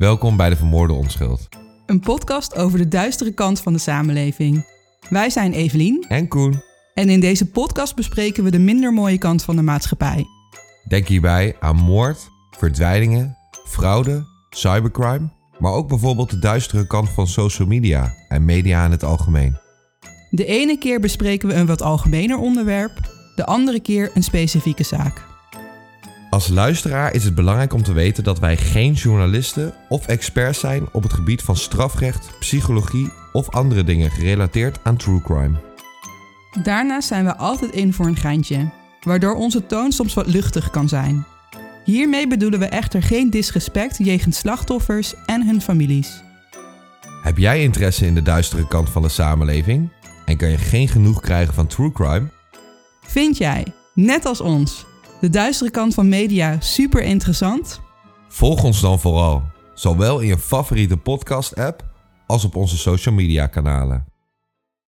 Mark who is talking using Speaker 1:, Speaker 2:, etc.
Speaker 1: Welkom bij de Vermoorde Onschuld.
Speaker 2: Een podcast over de duistere kant van de samenleving. Wij zijn Evelien
Speaker 1: En Koen,
Speaker 2: en in deze podcast bespreken we de minder mooie kant van de maatschappij.
Speaker 1: denk hierbij aan moord, verdwijningen, fraude, cybercrime, maar ook bijvoorbeeld de duistere kant van social media en media in het algemeen.
Speaker 2: De ene keer bespreken we een wat algemener onderwerp, de andere keer een specifieke zaak.
Speaker 1: Als luisteraar is het belangrijk om te weten dat wij geen journalisten of experts zijn op het gebied van strafrecht, psychologie of andere dingen gerelateerd aan true crime.
Speaker 2: Daarnaast zijn we altijd in voor een geintje, waardoor onze toon soms wat luchtig kan zijn. Hiermee bedoelen we echter geen disrespect jegens slachtoffers en hun families.
Speaker 1: Heb jij interesse in de duistere kant van de samenleving en kan je geen genoeg krijgen van true crime?
Speaker 2: Vind jij, net als ons, de duistere kant van media super interessant?
Speaker 1: Volg ons dan vooral, zowel in je favoriete podcast-app als op onze social media kanalen.